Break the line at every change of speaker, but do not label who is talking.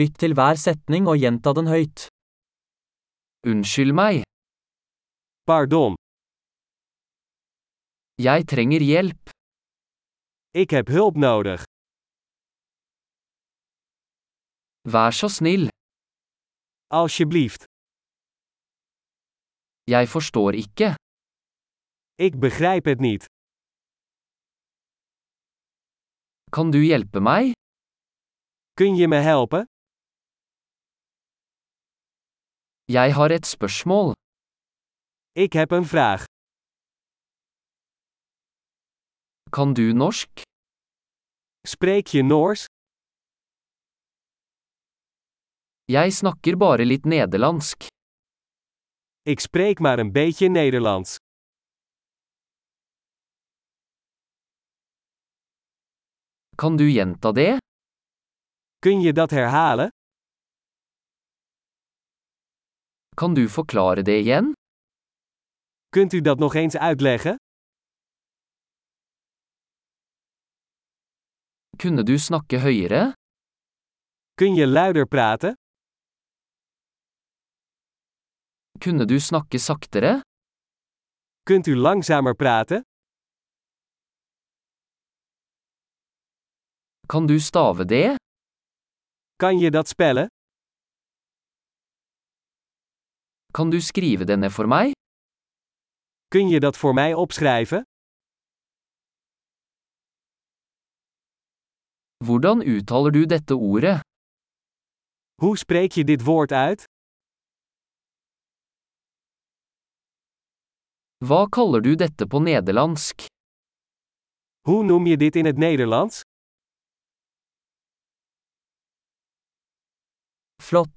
Lytt til hver setning og gjenta den høyt. Unnskyld meg,
Pardon,
jeg trenger hjelp.
ik heb hulp nodig.
Vær så snill,
Alsjeblieft,
jeg forstår ikke.
ik begrijp het niet.
Kan du hjelpe meg?
Kun je me helpen?
Jeg har et spørsmål.
Ik heb een vraag.
Kan du norsk?
Spreek je Noors?
Jeg snakker bare litt nederlandsk.
Ik spreek maar een beetje Nederlands.
Kan du gjenta det?
Kun je dat herhalen?
Kan du forklare det igjen?
Kunt u dat nog eens uitleggen?
Kunne du snakke høyere?
Kun je luider praten?
Kunne du snakke saktere?
Kunt u langzamer praten?
Kan du stave det?
Kan je dat spellen?
Kan du skrive det ned for meg?
Kun je dat voor mij opschrijven?
Hvordan uttaler du dette ordet?
Hoe spreek je dit woord uit?
Hva kaller du dette på nederlandsk?
Hoe noem je dit in het Nederlands?
Flott!